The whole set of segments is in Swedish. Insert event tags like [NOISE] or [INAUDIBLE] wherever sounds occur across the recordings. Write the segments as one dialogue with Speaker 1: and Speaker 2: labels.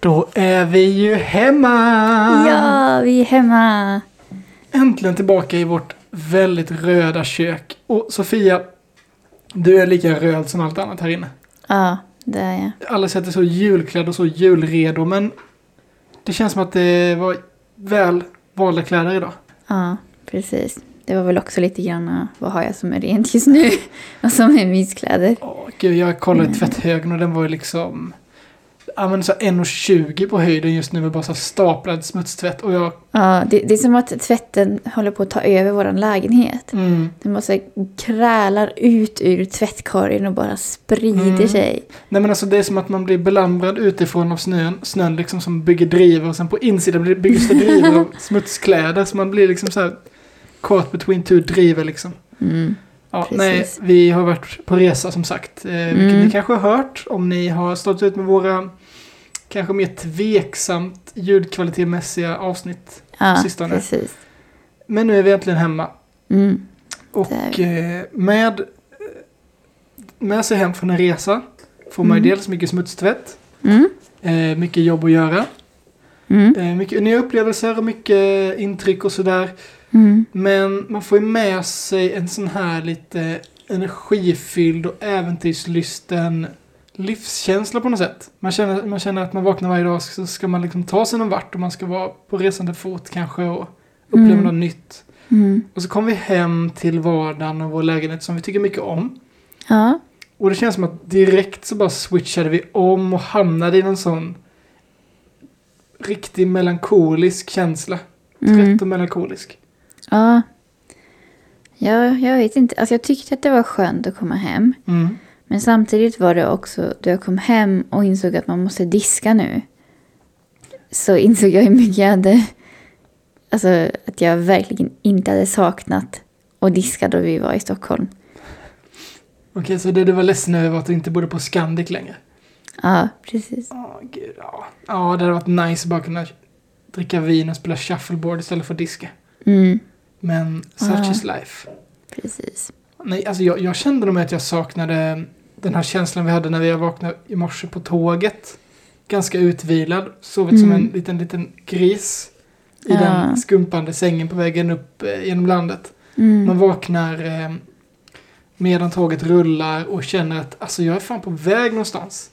Speaker 1: Då är vi ju hemma!
Speaker 2: Ja, vi är hemma.
Speaker 1: Äntligen tillbaka i vårt väldigt röda kök. Och Sofia, du är lika röd som allt annat här inne.
Speaker 2: Ja, det är jag.
Speaker 1: Alla sätter så julklädd och så julredo, men det känns som att det var väl valda kläder idag.
Speaker 2: Ja, precis. Det var väl också lite grann ah, vad har jag som är rent just nu [LAUGHS] och som är myskläder.
Speaker 1: Åh, gud, jag kollade tvätthögen och den var ju liksom... Ja, men så 1,20 på höjden just nu med bara så här staplad smutstvätt. Och jag...
Speaker 2: Ja, det, det är som att tvätten håller på att ta över vår lägenhet.
Speaker 1: Mm.
Speaker 2: Den bara så här krälar ut ur tvättkorgen och bara sprider
Speaker 1: Mm.
Speaker 2: sig.
Speaker 1: Nej men alltså det är som att man blir belamrad utifrån av snön. Snön liksom som bygger drivor och sen på insidan blir- byggs det drivor
Speaker 2: [LAUGHS]
Speaker 1: av smutskläder. Så man blir liksom så här caught between two drivor liksom.
Speaker 2: Mm.
Speaker 1: Ja,
Speaker 2: Precis.
Speaker 1: nej, vi har varit på resa som sagt. Eh, vilket
Speaker 2: Mm.
Speaker 1: ni kanske har hört om ni har stått ut med våra kanske mer tveksamt ljudkvalitetmässiga avsnitt.
Speaker 2: Ja,
Speaker 1: Sistone.
Speaker 2: precis.
Speaker 1: Men nu är vi äntligen hemma.
Speaker 2: Mm.
Speaker 1: Och eh, med, med sig hem från en resa får man ju
Speaker 2: Mm.
Speaker 1: dels mycket smutstvätt,
Speaker 2: Mm.
Speaker 1: eh, mycket jobb att göra.
Speaker 2: Mm.
Speaker 1: Eh, Mycket nya upplevelser och mycket intryck och sådär.
Speaker 2: Mm.
Speaker 1: Men man får ju med sig en sån här lite energifylld och äventyrslysten livskänsla på något sätt. Man känner, man känner att man vaknar varje dag så ska man liksom ta sig någon vart och man ska vara på resande fot kanske och uppleva
Speaker 2: Mm.
Speaker 1: något nytt.
Speaker 2: Mm.
Speaker 1: Och så kommer vi hem till vardagen och vår lägenhet som vi tycker mycket om.
Speaker 2: Ja.
Speaker 1: Och det känns som att direkt så bara switchade vi om och hamnade i någon sån riktig melankolisk känsla.
Speaker 2: Mm.
Speaker 1: Trött och melankolisk.
Speaker 2: Ja. ja, jag vet inte. Alltså jag tyckte att det var skönt att komma hem.
Speaker 1: Mm.
Speaker 2: Men samtidigt var det också då jag kom hem och insåg att man måste diska nu. Så insåg jag hur mycket jag hade... Alltså att jag verkligen inte hade saknat att diska då vi var i Stockholm.
Speaker 1: Okej, så det du var ledsen över var att du inte bodde på Scandic längre?
Speaker 2: Ja, precis.
Speaker 1: Ja, gud ja. Ja, det hade varit nice att bara kunna dricka vin och spela shuffleboard istället för att diska.
Speaker 2: Mm,
Speaker 1: Men such
Speaker 2: Ja.
Speaker 1: is life.
Speaker 2: precis.
Speaker 1: Nej, alltså jag, jag kände nog med att jag saknade den här känslan vi hade när vi vaknade i morse på tåget. Ganska utvilad, sovit som en
Speaker 2: Mm.
Speaker 1: liten, liten gris i
Speaker 2: Ja.
Speaker 1: den skumpande sängen på vägen upp eh, genom landet. Man
Speaker 2: Mm,
Speaker 1: vaknar eh, medan tåget rullar och känner att alltså jag är fan på väg någonstans.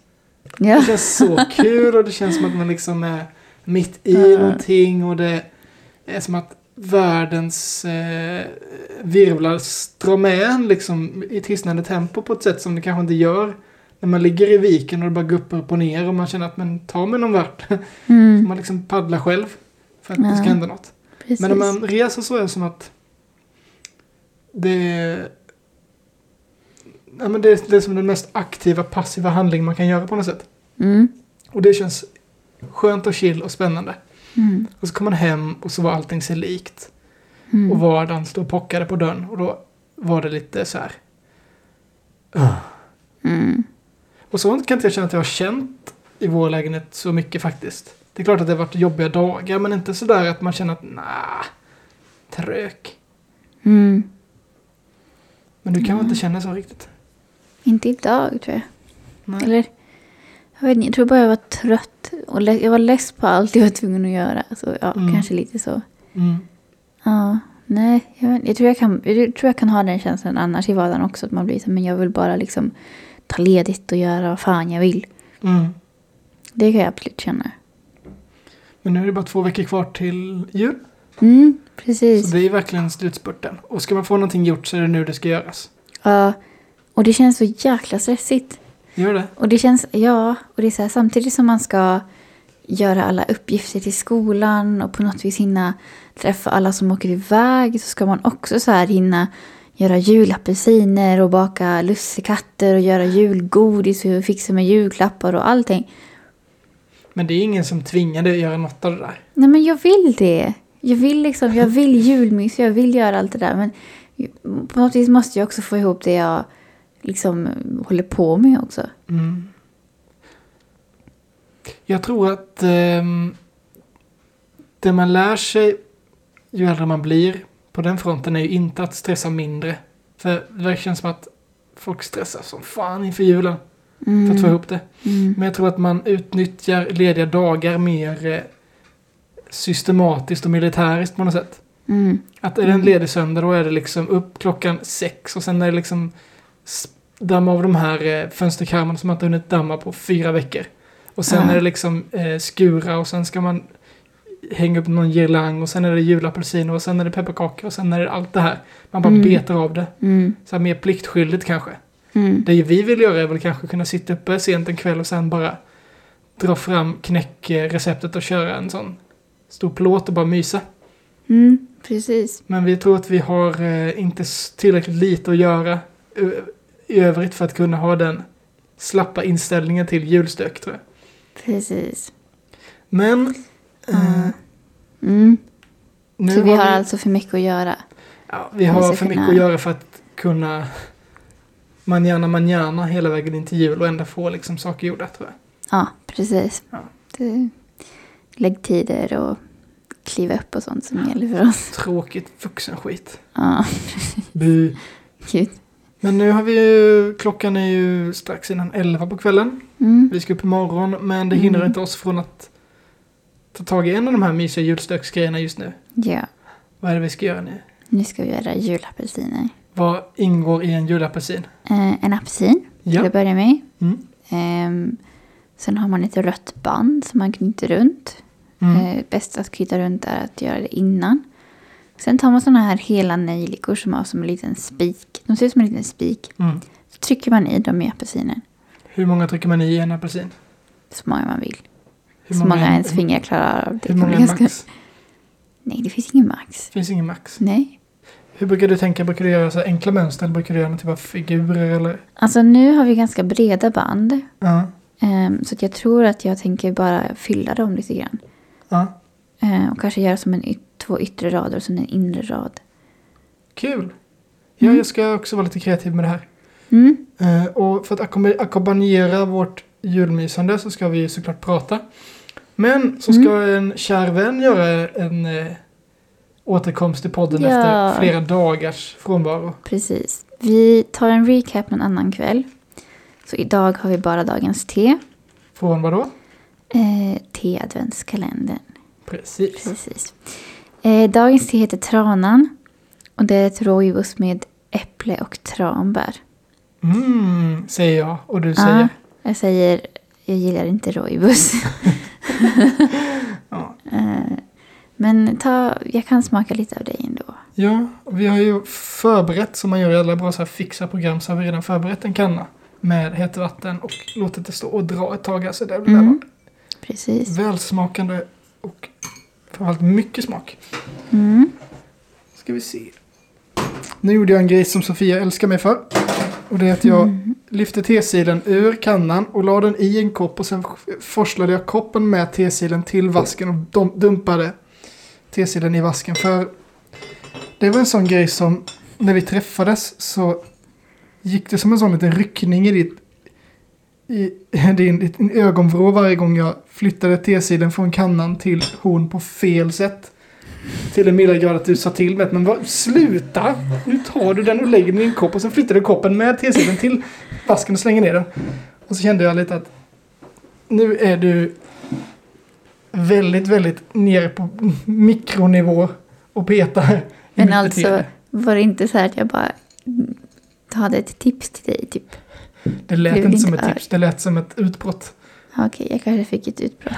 Speaker 1: Det
Speaker 2: ja,
Speaker 1: känns
Speaker 2: [LAUGHS]
Speaker 1: så kul och det känns som att man liksom är mitt i
Speaker 2: Ja.
Speaker 1: någonting och det är som att världens eh, virvlar drar med en liksom i tystnande tempo på ett sätt som det kanske inte gör när man ligger i viken och det bara går upp och ner och man känner att man tar mig någon vart.
Speaker 2: mm,
Speaker 1: Man liksom paddlar själv för att det
Speaker 2: Ja.
Speaker 1: ska hända något.
Speaker 2: precis.
Speaker 1: Men när man reser så är det som att det, ja, men det, är- det är som den mest aktiva passiva handling man kan göra på något sätt.
Speaker 2: Mm,
Speaker 1: Och det känns skönt och chill och spännande.
Speaker 2: mm,
Speaker 1: Och så kom man hem och så var allting sig likt. Och
Speaker 2: mm.
Speaker 1: vardagen stod och pockade på dörren och då var det lite så här.
Speaker 2: Mm,
Speaker 1: Och sånt kan inte jag känna att jag har känt i vår lägenhet så mycket faktiskt. Det är klart att det har varit jobbiga dagar men inte så där att man känner att nah, trök.
Speaker 2: mm.
Speaker 1: Men du kan väl inte känna så riktigt?
Speaker 2: Inte idag tror jag.
Speaker 1: Nej.
Speaker 2: Eller, jag vet inte, jag tror bara jag var trött. Och le- jag var less på allt jag var tvungen att göra. Så ja,
Speaker 1: Mm.
Speaker 2: kanske lite så.
Speaker 1: Mm.
Speaker 2: Ja, nej. Jag, vet, jag, tror jag, kan, jag tror jag kan ha den känslan annars i vardagen också. Att man blir så men jag vill bara liksom ta ledigt och göra vad fan jag vill.
Speaker 1: Mm.
Speaker 2: Det kan jag absolut känna.
Speaker 1: Men nu är det bara två veckor kvar till jul.
Speaker 2: Mm,
Speaker 1: Så
Speaker 2: precis.
Speaker 1: det är verkligen slutspurten. Och ska man få någonting gjort så är det nu det ska göras.
Speaker 2: Ja. Och det känns så jäkla stressigt.
Speaker 1: Gör det?
Speaker 2: Och det känns, ja, och det är så här, samtidigt som man ska göra alla uppgifter till skolan och på något vis hinna träffa alla som åker iväg så ska man också så här hinna göra julapelsiner och baka lussekatter och göra julgodis och fixa med julklappar och allting.
Speaker 1: Men det är ingen som tvingar dig att göra något av det där.
Speaker 2: Nej men jag vill det! Jag vill liksom, jag vill julmys, jag vill göra allt det där men på något vis måste jag också få ihop det jag liksom håller på med också.
Speaker 1: Mm. Jag tror att ehm, det man lär sig ju äldre man blir på den fronten är ju inte att stressa mindre. För det verkar som att folk stressar som fan inför julen.
Speaker 2: Mm.
Speaker 1: för att få ihop det.
Speaker 2: Mm.
Speaker 1: Men jag tror att man utnyttjar lediga dagar mer eh, systematiskt och militäriskt på något sätt.
Speaker 2: Mm.
Speaker 1: Att är det en
Speaker 2: Mm.
Speaker 1: ledig söndag då är det liksom upp klockan sex och sen är det liksom s- damma av de här eh, fönsterkarmarna som man inte hunnit damma på fyra veckor. Och sen
Speaker 2: Ja.
Speaker 1: är det liksom eh, skura och sen ska man hänga upp någon girlang och sen är det julapelsiner och sen är det pepparkakor och sen är det allt det här. Man bara
Speaker 2: Mm.
Speaker 1: betar av det.
Speaker 2: Mm.
Speaker 1: Så här mer pliktskyldigt kanske.
Speaker 2: Mm.
Speaker 1: Det vi vill göra är väl kanske kunna sitta uppe sent en kväll och sen bara dra fram knäckreceptet och köra en sån stor plåt och bara mysa.
Speaker 2: Mm. Precis.
Speaker 1: Men vi tror att vi har eh, inte s- tillräckligt lite att göra ö- i övrigt för att kunna ha den slappa inställningen till julstök tror jag.
Speaker 2: Precis.
Speaker 1: Men eh,
Speaker 2: Mm.
Speaker 1: nu
Speaker 2: Så vi har
Speaker 1: vi,
Speaker 2: alltså för mycket att göra.
Speaker 1: ja, vi
Speaker 2: vi
Speaker 1: har
Speaker 2: ska
Speaker 1: för mycket
Speaker 2: kunna-
Speaker 1: att göra för att kunna manjana manjana hela vägen in till jul och ändå få liksom saker gjorda tror jag.
Speaker 2: Ja, precis.
Speaker 1: Ja.
Speaker 2: Det, lägg tider och kliva upp och sånt som gäller för oss.
Speaker 1: Tråkigt vuxenskit.
Speaker 2: Ja,
Speaker 1: Bu.
Speaker 2: gud.
Speaker 1: Men nu har vi ju, klockan är ju strax innan 11 på kvällen.
Speaker 2: Mm.
Speaker 1: Vi ska upp imorgon, men det hindrar
Speaker 2: Mm.
Speaker 1: inte oss från att ta tag i en av de här mysiga julstöksgrejerna just nu.
Speaker 2: Ja,
Speaker 1: Vad är det vi ska göra nu?
Speaker 2: nu ska vi göra julapelsiner.
Speaker 1: Vad ingår i en julapelsin?
Speaker 2: Eh, en apelsin till
Speaker 1: Ja.
Speaker 2: att börja med.
Speaker 1: Mm.
Speaker 2: Ehm, sen har man ett rött band som man knyter runt.
Speaker 1: Mm.
Speaker 2: Eh, bäst att knyta runt är att göra det innan. Sen tar man såna här hela nejlikor som har som en liten spik. De ser ut som en liten spik.
Speaker 1: Mm.
Speaker 2: Så trycker man i dem i apelsinen.
Speaker 1: Hur många trycker man i en apelsin?
Speaker 2: Så många man vill.
Speaker 1: Hur
Speaker 2: så många ens
Speaker 1: hur-
Speaker 2: fingrar klarar av. Det
Speaker 1: Hur
Speaker 2: kan
Speaker 1: många
Speaker 2: bli
Speaker 1: är
Speaker 2: ganska-
Speaker 1: max?
Speaker 2: Nej, det finns ingen max.
Speaker 1: Det finns ingen max.
Speaker 2: Nej.
Speaker 1: Hur brukar du tänka? Brukar du göra så här enkla mönster? Eller brukar du göra någon typ av figurer? Eller?
Speaker 2: Alltså nu har vi ganska breda band.
Speaker 1: Ja.
Speaker 2: ehm, så att jag tror att jag tänker bara fylla dem lite grann.
Speaker 1: ja.
Speaker 2: Ehm, och kanske göra som en yt- två yttre rader och sen en inre rad.
Speaker 1: Kul! Ja, jag ska också vara lite kreativ med det här.
Speaker 2: Mm.
Speaker 1: Eh, Och för att ackompa- ackompanjera vårt julmysande så ska vi ju såklart prata. Men så ska
Speaker 2: Mm.
Speaker 1: en kär vän göra en eh, återkomst i podden
Speaker 2: Ja.
Speaker 1: efter flera dagars frånvaro.
Speaker 2: Precis. Vi tar en recap någon annan kväll. Så idag har vi bara dagens te.
Speaker 1: Från vadå?
Speaker 2: Eh, Te-adventskalendern.
Speaker 1: Precis.
Speaker 2: Precis. Eh, dagens te heter Tranan. Och det är ett rooibos med äpple och tranbär.
Speaker 1: Mm, säger jag och du säger.
Speaker 2: Ja, jag säger, jag gillar inte rooibos.
Speaker 1: [LAUGHS]
Speaker 2: [LAUGHS]
Speaker 1: Ja.
Speaker 2: Eh, Men ta, jag kan smaka lite av dig ändå.
Speaker 1: Ja, och vi har ju förberett som man gör i alla bra så här fixa program så har vi redan förberett en kanna med hett vatten och låtit det stå och dra ett tag här så det blir
Speaker 2: Mm. Precis.
Speaker 1: välsmakande och framförallt mycket smak.
Speaker 2: Mm.
Speaker 1: ska vi se. Nu gjorde jag en grej som Sofia älskar mig för. Och det är att jag
Speaker 2: Mm.
Speaker 1: lyfte tesilen ur kannan och la den i en kopp och sen f- forslade jag koppen med tesilen till vasken och dom- dumpade tesilen i vasken. För det var en sån grej som när vi träffades så gick det som en sån liten ryckning i ditt i din, din ögonvrå varje gång jag flyttade tesilen från kannan till horn på fel sätt. Till den milda grad att du sa till mig att men vad, sluta! Nu tar du den och lägger den i en kopp och sen flyttar du koppen med tesilen till vasken och slänger ner den. Och så kände jag lite att nu är du väldigt, väldigt nere på mikronivå och petar. i
Speaker 2: Men
Speaker 1: mitt
Speaker 2: alltså,
Speaker 1: beteende.
Speaker 2: var det inte så här att jag bara mm, hade ett tips till dig? Typ.
Speaker 1: Det lät
Speaker 2: blev
Speaker 1: inte som ett
Speaker 2: inte
Speaker 1: tips, det lät som ett utbrott.
Speaker 2: Ja, "Ah, Okej, jag kanske fick ett utbrott.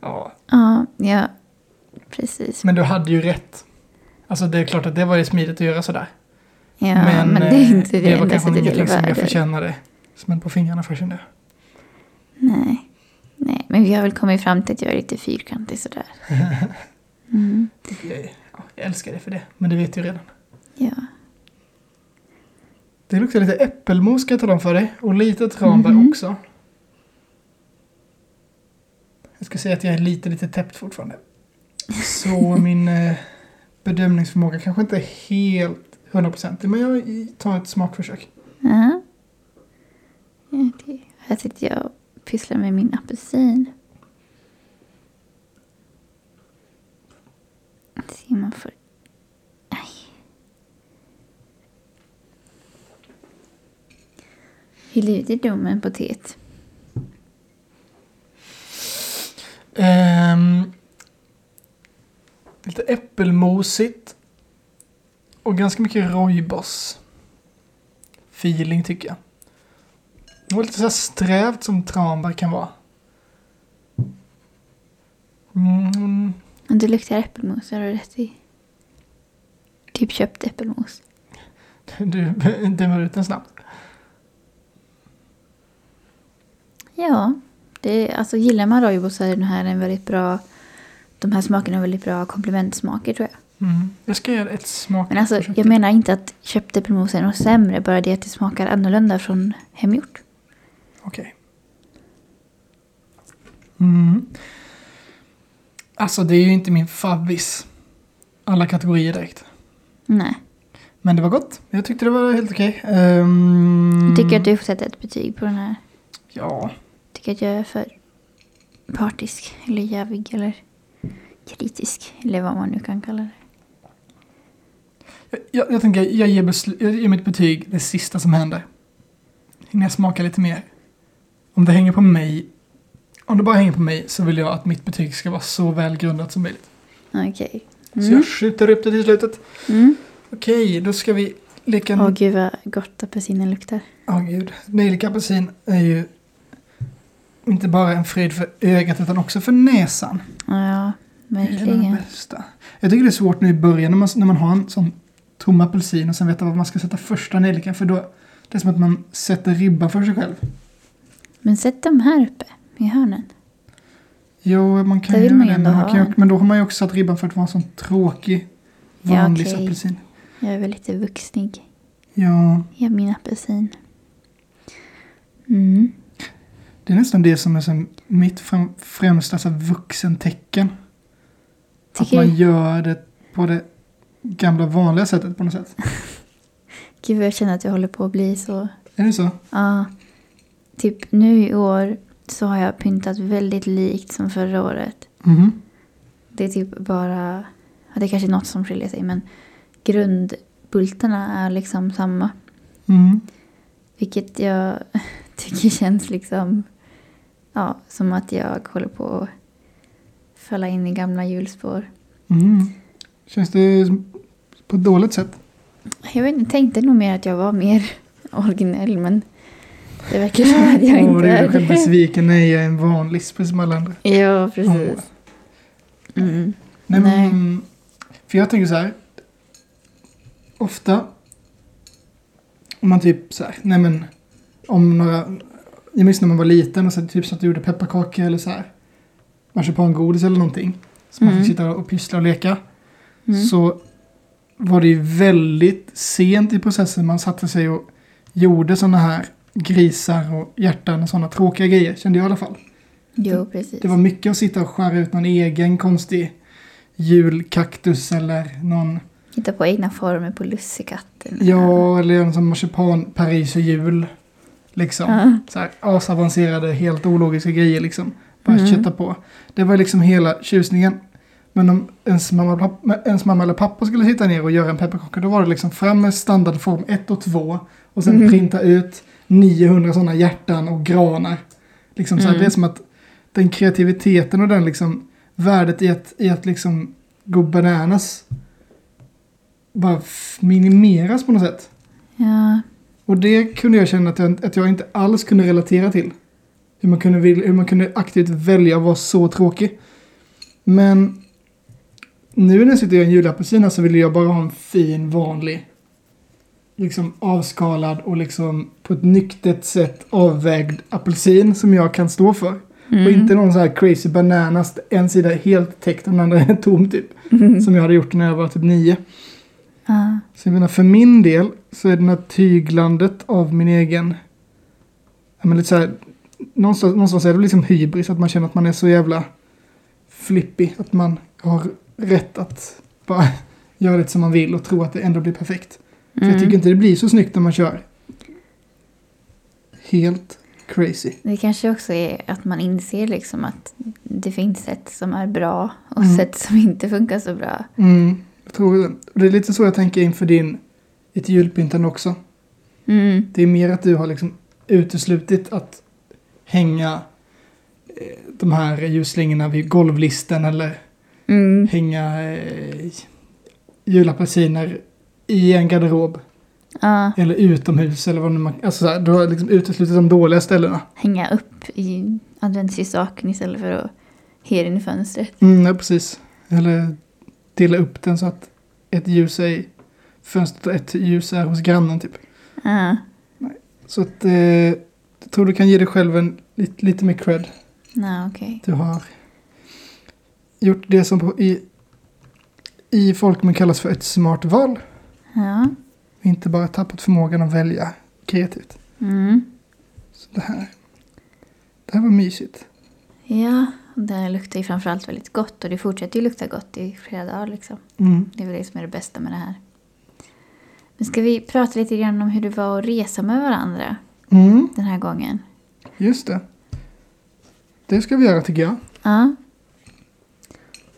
Speaker 1: Ja,
Speaker 2: Ja, ja. Precis.
Speaker 1: men du hade ju rätt. Alltså det är klart att det var ju smidigt att göra sådär.
Speaker 2: Ja, men, det
Speaker 1: eh,
Speaker 2: är inte det,
Speaker 1: det var
Speaker 2: enda
Speaker 1: kanske
Speaker 2: sättet
Speaker 1: ingenting
Speaker 2: jag
Speaker 1: som jag
Speaker 2: lärde.
Speaker 1: förtjänade. Smäll på fingrarna för kände jag.
Speaker 2: Nej. Nej, men vi har väl kommit fram till att jag är lite fyrkantig sådär. Mm.
Speaker 1: Jag- ja, Jag älskar dig för det, men det vet du redan.
Speaker 2: Ja.
Speaker 1: Det luktar lite äppelmos ska jag tala om för dig. Och lite tranbär
Speaker 2: Mhm.
Speaker 1: också. Jag ska säga att jag är lite, lite täppt fortfarande.
Speaker 2: [LAUGHS]
Speaker 1: Så min eh, bedömningsförmåga kanske inte är helt hundraprocentig. Men jag tar ett smakförsök.
Speaker 2: Ja. Ja, det, här sitter jag och pysslar med min apelsin. Se om man får... Aj. Häll ut i domen på teet.
Speaker 1: Ehm, lite äppelmosigt. Och ganska mycket rojbos. Feeling tycker jag. Det var lite så här strävt som tranbär kan vara. Mm,
Speaker 2: Om det luktar äppelmos har du rätt i. Typ köpt äppelmos.
Speaker 1: du [LAUGHS] dömer ut den snabbt.
Speaker 2: Ja, det, alltså gillar man rojbo så är den här en väldigt bra... De här smakerna är väldigt bra komplementsmaker tror jag.
Speaker 1: Mm. Jag ska göra ett smak.
Speaker 2: Men alltså, jag menar inte att köpt äppelmos är något sämre, bara det att det smakar annorlunda från hemgjort.
Speaker 1: Okej. Mm. Alltså det är ju inte min favvis. Alla kategorier direkt.
Speaker 2: Nej.
Speaker 1: Men det var gott. Jag tyckte det var helt okej. Ehm,
Speaker 2: Jag tycker att du får sätta ett betyg på den här.
Speaker 1: Ja.
Speaker 2: tycker att jag är för partisk, eller jävig, eller kritisk, eller vad man nu kan kalla det.
Speaker 1: Jag, jag, jag tänker jag ger, besl- jag ger mitt betyg det sista som händer. Innan jag smakar lite mer. Om det hänger på mig. Om det bara hänger på mig så vill jag att mitt betyg ska vara så välgrundat som möjligt.
Speaker 2: Okej.
Speaker 1: Så
Speaker 2: Mm.
Speaker 1: jag skjuter upp det till slutet.
Speaker 2: Mm.
Speaker 1: Okej, då ska vi leka en
Speaker 2: Åh gud vad gott apelsinen luktar.
Speaker 1: Ja, gud. Nejlika apelsin är ju inte bara en fröjd för ögat utan också för näsan.
Speaker 2: Ja,
Speaker 1: Det är en av de
Speaker 2: verkligen.
Speaker 1: bästa. Jag tycker det är svårt nu i början när man, när man har en sån tom apelsin och sen vet vad man ska sätta första nejlikan för då det är som att man sätter ribban för sig själv.
Speaker 2: Men sätt dem här uppe, i hörnen.
Speaker 1: Jo, man kan
Speaker 2: Där vill
Speaker 1: göra
Speaker 2: man ju
Speaker 1: det,
Speaker 2: ändå
Speaker 1: men,
Speaker 2: ha
Speaker 1: kan, ju-
Speaker 2: en.
Speaker 1: men då har man ju också satt ribban för att vara en sån tråkig
Speaker 2: Ja,
Speaker 1: vanlig
Speaker 2: okej.
Speaker 1: apelsin.
Speaker 2: Jag är väl lite vuxnig.
Speaker 1: Ja,
Speaker 2: Jag är min apelsin. Mm.
Speaker 1: det är nästan det som är som mitt fram, främsta så här vuxentecken. Att
Speaker 2: Tycker
Speaker 1: man
Speaker 2: du?
Speaker 1: gör det på det gamla vanliga sättet på något sätt.
Speaker 2: Gud vad jag känner att jag håller på att bli så
Speaker 1: Är det så?
Speaker 2: Ja. Typ nu i år så har jag pyntat väldigt likt som förra året.
Speaker 1: Mhm.
Speaker 2: Det är typ bara... ja, Det är kanske är något som skiljer sig men grundbultarna är liksom samma.
Speaker 1: Mm.
Speaker 2: Vilket jag [LAUGHS] tycker känns liksom... Ja, som att jag håller på att falla in i gamla hjulspår.
Speaker 1: Mm. Känns det som- på ett dåligt sätt?
Speaker 2: Jag vet inte, tänkte nog mer att jag var mer [LAUGHS] originell men det verkar som att jag
Speaker 1: Åh,
Speaker 2: inte
Speaker 1: det är
Speaker 2: [LAUGHS]
Speaker 1: själv
Speaker 2: är det.
Speaker 1: besviken. Nej, jag är en vanlig, precis som alla andra.
Speaker 2: Ja,
Speaker 1: Åh.
Speaker 2: precis. Mm.
Speaker 1: Nej,
Speaker 2: Nej.
Speaker 1: Men, för jag tänker så här. Ofta. Om man typ så här. Nej men. Om några. Jag minns när man var liten och så typ så att du gjorde pepparkakor eller så här. Marsipangodis eller någonting. Så man
Speaker 2: Mm.
Speaker 1: fick sitta och pyssla och leka.
Speaker 2: Mm.
Speaker 1: så var det ju väldigt sent i processen man satte sig och gjorde sådana här grisar och hjärtan och sådana tråkiga grejer, kände jag i alla fall.
Speaker 2: Jo, precis.
Speaker 1: Det var mycket att sitta och skära ut någon egen konstig julkaktus eller någon,
Speaker 2: Hitta på egna former på lussekatten.
Speaker 1: ja, eller en sån marsipan Paris och jul. Liksom.
Speaker 2: Ja.
Speaker 1: Så här asavancerade, helt ologiska grejer liksom. Bara
Speaker 2: Mm.
Speaker 1: kötta på. Det var liksom hela tjusningen. Men om ens mamma, eller papp- ens mamma eller pappa skulle sitta ner och göra en pepparkaka då var det liksom fram med standardform 1 och 2 och sen
Speaker 2: Mm.
Speaker 1: printa ut 900 sådana hjärtan och granar. Liksom så här,
Speaker 2: Mm.
Speaker 1: Det är som att den kreativiteten och den liksom värdet i att, i att liksom gå bananas bara f- minimeras på något sätt.
Speaker 2: Ja,
Speaker 1: Och det kunde jag känna att jag, att jag inte alls kunde relatera till. Hur man kunde, vil- hur man kunde aktivt välja att vara så tråkig. Men nu när jag sitter och gör en julapelsin här så vill jag bara ha en fin vanlig. Liksom avskalad och liksom på ett nyktert sätt avvägd apelsin som jag kan stå för. Och
Speaker 2: Mm.
Speaker 1: inte någon så här crazy bananas. En sida är helt täckt och den andra [LAUGHS] är tom typ. Som jag hade gjort när jag var typ nio.
Speaker 2: Mm. ja.
Speaker 1: Så jag menar, för min del så är det här tyglandet av min egen... Ja, men lite så här, någonstans, någonstans är det liksom hybris, att man känner att man är så jävla flippig. Att man har rätt att bara [LAUGHS] göra lite som man vill och tro att det ändå blir perfekt. För
Speaker 2: Mm.
Speaker 1: jag tycker inte det blir så snyggt när man kör. Helt crazy.
Speaker 2: Det kanske också är att man inser liksom att det finns sätt som är bra och
Speaker 1: Mm.
Speaker 2: sätt som inte funkar så bra.
Speaker 1: Mm, jag tror det. Och det är lite så jag tänker inför din... Ett julpyntande också.
Speaker 2: Mm.
Speaker 1: Det är mer att du har liksom uteslutit att hänga eh, de här ljusslingorna vid golvlisten eller
Speaker 2: Mm.
Speaker 1: hänga eh, julapelsiner i en garderob
Speaker 2: Ja,
Speaker 1: eller utomhus eller vad nu man... Alltså så här, du har liksom uteslutit de dåliga ställena.
Speaker 2: hänga upp i adventsljusstaken istället för att ha den i fönstret.
Speaker 1: Mm, ja, precis. Eller dela upp den så att ett ljus är i fönstret och ett ljus är hos grannen typ.
Speaker 2: Ja,
Speaker 1: Så att eh, jag tror du kan ge dig själv en, lite, lite mer cred.
Speaker 2: nej okej.
Speaker 1: Du har gjort det som på, i, i folkmun kallas för ett smart val.
Speaker 2: Ja.
Speaker 1: Inte bara tappat förmågan att välja kreativt.
Speaker 2: Mm.
Speaker 1: Så det här, det här var mysigt.
Speaker 2: Ja, det luktar ju framförallt väldigt gott och det fortsätter ju lukta gott i flera dagar liksom.
Speaker 1: Mm.
Speaker 2: Det är väl det som är det bästa med det här. Men ska vi prata lite grann om hur det var att resa med varandra
Speaker 1: Mm,
Speaker 2: den här gången?
Speaker 1: just det. Det ska vi göra tycker jag.
Speaker 2: Ja,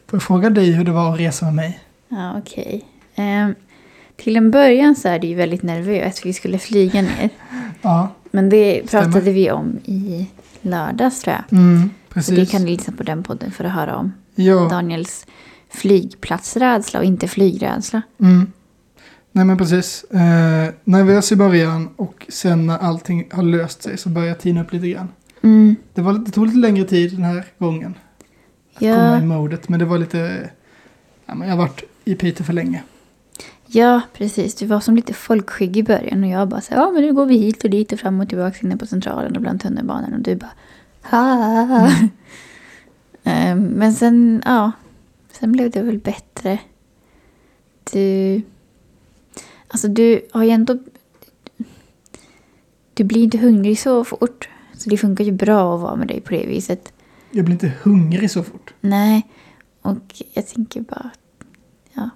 Speaker 1: Får jag fråga dig hur det var att resa med mig?
Speaker 2: ja okej. Ehm, till en början så är det ju väldigt nervöst för vi skulle flyga ner.
Speaker 1: Ja,
Speaker 2: Men det
Speaker 1: Stämmer.
Speaker 2: pratade vi om i lördags tror jag.
Speaker 1: mm,
Speaker 2: Så det
Speaker 1: precis.
Speaker 2: kan ni lyssna på den podden för att höra om
Speaker 1: ja,
Speaker 2: Daniels flygplatsrädsla och inte flygrädsla.
Speaker 1: mm. Nej men precis. Eh, nervös i början och sen när allting har löst sig så börjar jag tina upp lite grann.
Speaker 2: Mm.
Speaker 1: Det, var, det tog lite längre tid den här gången. Komma i
Speaker 2: Ja,
Speaker 1: modet. Men det var lite... Ja, men jag har varit i Piteå för länge.
Speaker 2: ja, precis. Du var som lite folkskygg i början och jag bara så här, ja men nu går vi hit och dit och fram och tillbaka inne på centralen och bland tunnelbanan och du bara ha. Ehm, Men sen, ja, sen blev det väl bättre. Du, alltså du har ju ändå, du blir inte hungrig så fort. Så det funkar ju bra att vara med dig på det viset.
Speaker 1: Jag blir inte hungrig så fort.
Speaker 2: Nej, och jag tänker bara att, ja,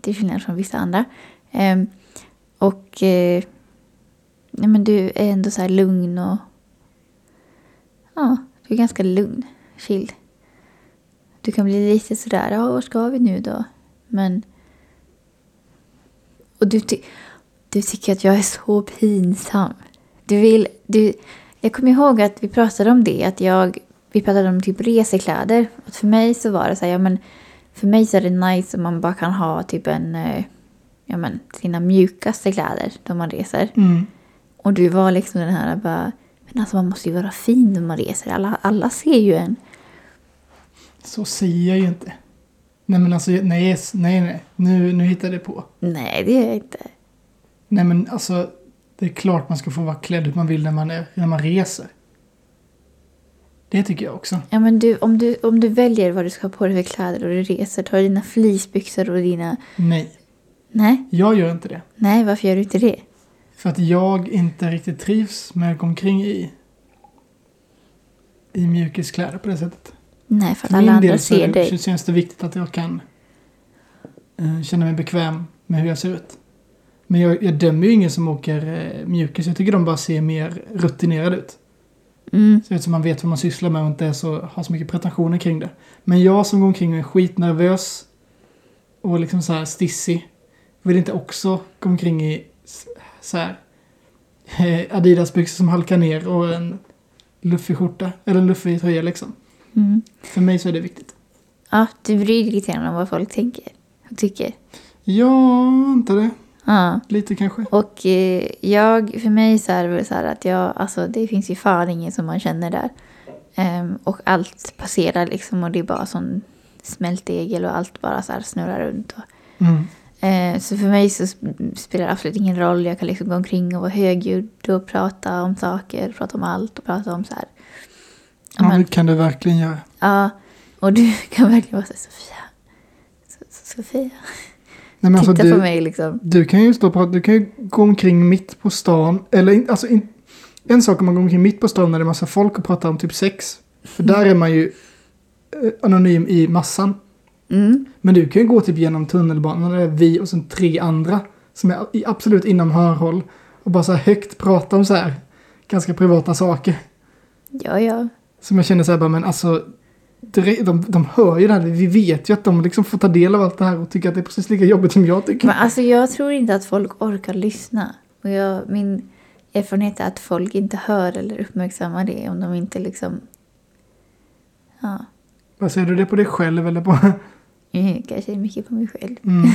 Speaker 2: till skillnad från vissa andra. Ehm, och eh, nej, men du är ändå så här lugn och ja, du är ganska lugn, chill. Du kan bli lite sådär, ja, var ska vi nu då? Men... Och du, ty- du tycker att jag är så pinsam. Du vill... Du, jag kommer ihåg att vi pratade om det, att jag... Vi pratade om typ resekläder. Att för mig så var det så här, ja men... För mig så är det nice om man bara kan ha typ en... eh, Ja men, sina mjukaste kläder då man reser.
Speaker 1: Mm.
Speaker 2: Och du var liksom den här bara... Men alltså man måste ju vara fin när man reser. Alla, alla ser ju en.
Speaker 1: Så säger jag ju inte. Nej men alltså, nej, yes, nej, nej. Nu, nu hittade jag på.
Speaker 2: Nej, det är jag inte.
Speaker 1: Nej men alltså, det är klart man ska få vara klädd hur man vill när man, är, när man reser. Det tycker jag också.
Speaker 2: Ja, men du, om, du, om du väljer vad du ska ha på dig för kläder och du reser, tar du dina fleecebyxor och dina...
Speaker 1: Nej,
Speaker 2: Nej,
Speaker 1: jag gör inte det.
Speaker 2: nej, varför gör du inte det?
Speaker 1: För att jag inte riktigt trivs med att gå omkring i, i mjukiskläder på det sättet.
Speaker 2: Nej, för att
Speaker 1: För
Speaker 2: alla
Speaker 1: min
Speaker 2: andra
Speaker 1: del så
Speaker 2: ser
Speaker 1: är det,
Speaker 2: dig.
Speaker 1: så känns det viktigt att jag kan eh, känna mig bekväm med hur jag ser ut. Men jag, jag dömer ju ingen som åker eh, mjukis. Jag tycker de bara ser mer rutinerade ut.
Speaker 2: Mm,
Speaker 1: Ser ut som man vet vad man sysslar med och inte är så, har så mycket pretensioner kring det. Men jag som går omkring och är skitnervös och liksom så här stissig vill inte också gå omkring i s- så här eh, Adidas-byxor som halkar ner och en luffig skjorta eller en luffig tröja liksom.
Speaker 2: mm.
Speaker 1: För mig så är det viktigt.
Speaker 2: Ja, du bryr dig lite grann om vad folk tänker och tycker.
Speaker 1: Ja, inte det.
Speaker 2: Ja.
Speaker 1: Lite kanske.
Speaker 2: Och eh, jag, för mig så är det väl så här att jag, alltså det finns ju fan ingen som man känner där. Ehm, och allt passerar liksom och det är bara sån smältdegel och allt bara så här snurrar runt. Och,
Speaker 1: Mm.
Speaker 2: Eh, Så för mig så sp- spelar det absolut ingen roll. Jag kan liksom gå omkring och vara högljudd och prata om saker, prata om allt och prata om så här.
Speaker 1: Ja,
Speaker 2: Ja,
Speaker 1: det
Speaker 2: men,
Speaker 1: kan du verkligen göra.
Speaker 2: ja, och du [LAUGHS] kan verkligen vara så här, Sofia. So- so- Sofia.
Speaker 1: Nej, men alltså,
Speaker 2: Titta
Speaker 1: du,
Speaker 2: på mig liksom.
Speaker 1: Du kan ju stå på, du kan ju gå omkring mitt på stan. Eller in, alltså in, en sak om man går omkring mitt på stan när det är massa folk och pratar om typ sex. För där är man ju eh, anonym i massan.
Speaker 2: Mm.
Speaker 1: Men du kan ju gå typ genom tunnelbanan där det är vi och sen tre andra som är i- absolut inom hörhåll och bara så här högt prata om så här ganska privata saker.
Speaker 2: Ja, ja.
Speaker 1: Som jag känner så här bara, men alltså dre- de, de hör ju det här, vi vet ju att de liksom får ta del av allt det här och tycker att det är precis lika jobbigt som jag tycker.
Speaker 2: Men alltså jag tror inte att folk orkar lyssna. Och jag, min erfarenhet är att folk inte hör eller uppmärksammar det om de inte liksom... Ja, [LAUGHS]
Speaker 1: Baserar du det på dig själv eller på...
Speaker 2: eh, kanske mycket på mig själv.
Speaker 1: Mm.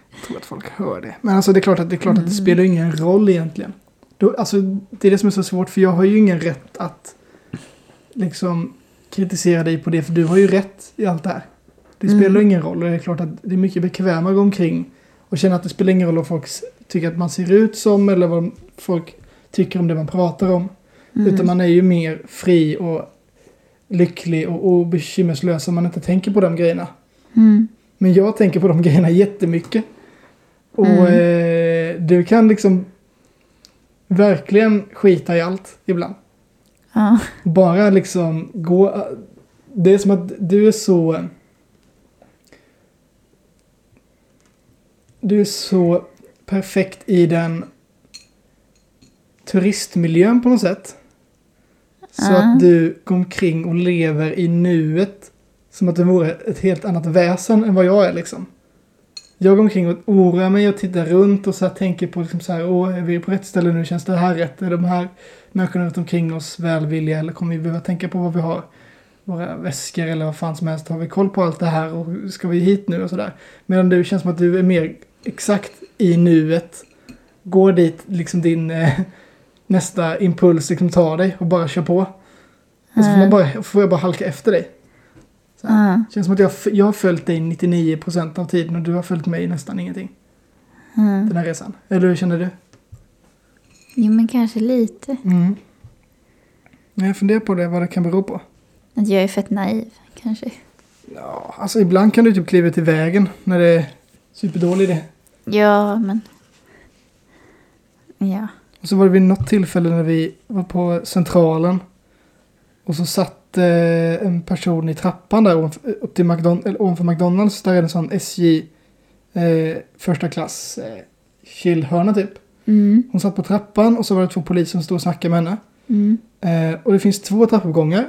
Speaker 1: [LAUGHS] Jag tror att folk hör det. Men alltså det är klart att det, är klart
Speaker 2: Mm.
Speaker 1: att det spelar ju ingen roll egentligen. Då, alltså, det är det som är så svårt för jag har ju ingen rätt att liksom kritisera dig på det för du har ju rätt i allt det här. Det
Speaker 2: Mm.
Speaker 1: spelar ingen roll och det är klart att det är mycket bekvämare att gå omkring och känna att det spelar ingen roll vad folk s- tycker att man ser ut som eller vad folk tycker om det man pratar om.
Speaker 2: Mm.
Speaker 1: Utan man är ju mer fri och lycklig och, och bekymmerslös om man inte tänker på de grejerna.
Speaker 2: Mm.
Speaker 1: Men jag tänker på de [LAUGHS] grejerna jättemycket. Och eh, du kan liksom verkligen skita i allt ibland.
Speaker 2: Ja.
Speaker 1: Bara liksom gå... Det är som att du är så... Du är så perfekt i den turistmiljön på något sätt. Så
Speaker 2: Ah.
Speaker 1: att du går omkring och lever i nuet. Som att det vore ett helt annat väsen än vad jag är liksom. Jag går omkring och oroar mig och tittar runt och så här tänker på liksom så här, åh, är vi på rätt ställe nu? Känns det här rätt? Är de här människorna runt omkring oss välvilliga eller kommer vi behöva tänka på vad vi har? Våra väskor eller vad fan som helst. Har vi koll på allt det här och ska vi hit nu och sådär? Medan du känns som att du är mer exakt i nuet. Går dit liksom din eh, nästa impuls liksom tar dig och bara kör på. Och så Alltså, får,
Speaker 2: Mm.
Speaker 1: man bara, får jag bara halka efter dig. Så här.
Speaker 2: Ja.
Speaker 1: Känns som att jag, f- jag har följt dig 99% av tiden och du har följt mig nästan ingenting.
Speaker 2: Mm.
Speaker 1: Den här resan. Eller hur känner du?
Speaker 2: Jo, men kanske lite.
Speaker 1: Mm. Jag funderar på det, vad det kan bero på.
Speaker 2: Att jag är fett naiv, kanske.
Speaker 1: Ja, alltså ibland kan du typ kliva ut i vägen när det är superdålig idé.
Speaker 2: Ja, men... Ja.
Speaker 1: Och så var det vid något tillfälle när vi var på Centralen. Och så satt eh, en person i trappan där ovanför, eh, upp till McDonald's, eller ovanför McDonalds. Där är det en sån SJ eh, första klass eh, chillhörna typ.
Speaker 2: Mm.
Speaker 1: Hon satt på trappan och så var det två poliser som stod och snackade med henne.
Speaker 2: Mm.
Speaker 1: Eh, och det finns två trappuppgångar